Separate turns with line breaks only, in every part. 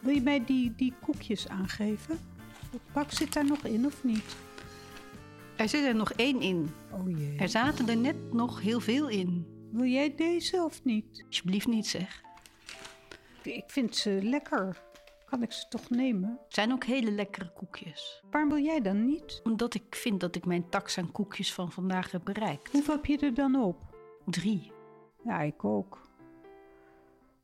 Wil je mij die, die koekjes aangeven? Het pak zit daar nog in of niet?
Er zit er nog één in.
Oh jee.
Er zaten er net nog heel veel in.
Wil jij deze of niet?
Alsjeblieft niet zeg.
Ik vind ze lekker. Kan ik ze toch nemen?
Het zijn ook hele lekkere koekjes.
Waarom wil jij dan niet?
Omdat ik vind dat ik mijn tax aan koekjes van vandaag heb bereikt.
Hoeveel heb je er dan op?
Drie.
Ja, ik ook.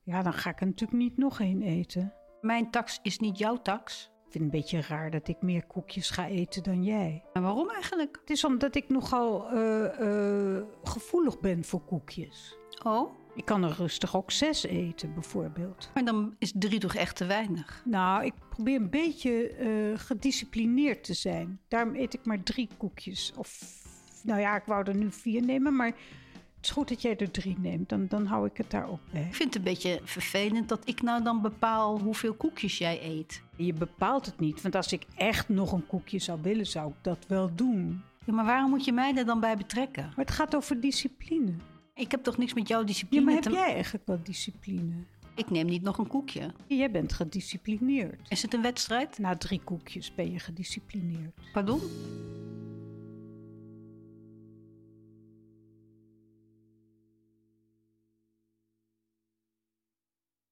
Ja, dan ga ik er natuurlijk niet nog één eten.
Mijn tax is niet jouw tax.
Ik vind het een beetje raar dat ik meer koekjes ga eten dan jij.
Maar waarom eigenlijk?
Het is omdat ik nogal eh, eh, gevoelig ben voor koekjes.
Oh,
Ik kan er rustig ook zes eten, bijvoorbeeld.
maar dan is drie toch echt te weinig.
Nou, ik probeer een beetje eh, gedisciplineerd te zijn. Daarom eet ik maar drie koekjes. Of, nou ja, ik wou er nu vier nemen, maar het is goed dat jij er drie neemt. Dan, dan hou ik het daar ook bij.
Ik vind het een beetje vervelend dat ik nou dan bepaal hoeveel koekjes jij eet.
Je bepaalt het niet, want als ik echt nog een koekje zou willen, zou ik dat wel doen.
Ja, maar waarom moet je mij er dan bij betrekken?
Maar het gaat over discipline.
Ik heb toch niks met jouw
Ja,
discipline
maar heb
te
jij eigenlijk wel discipline?
Ik neem niet nog een koekje.
Jij bent gedisciplineerd.
Is het een wedstrijd?
Na drie koekjes ben je gedisciplineerd.
Pardon?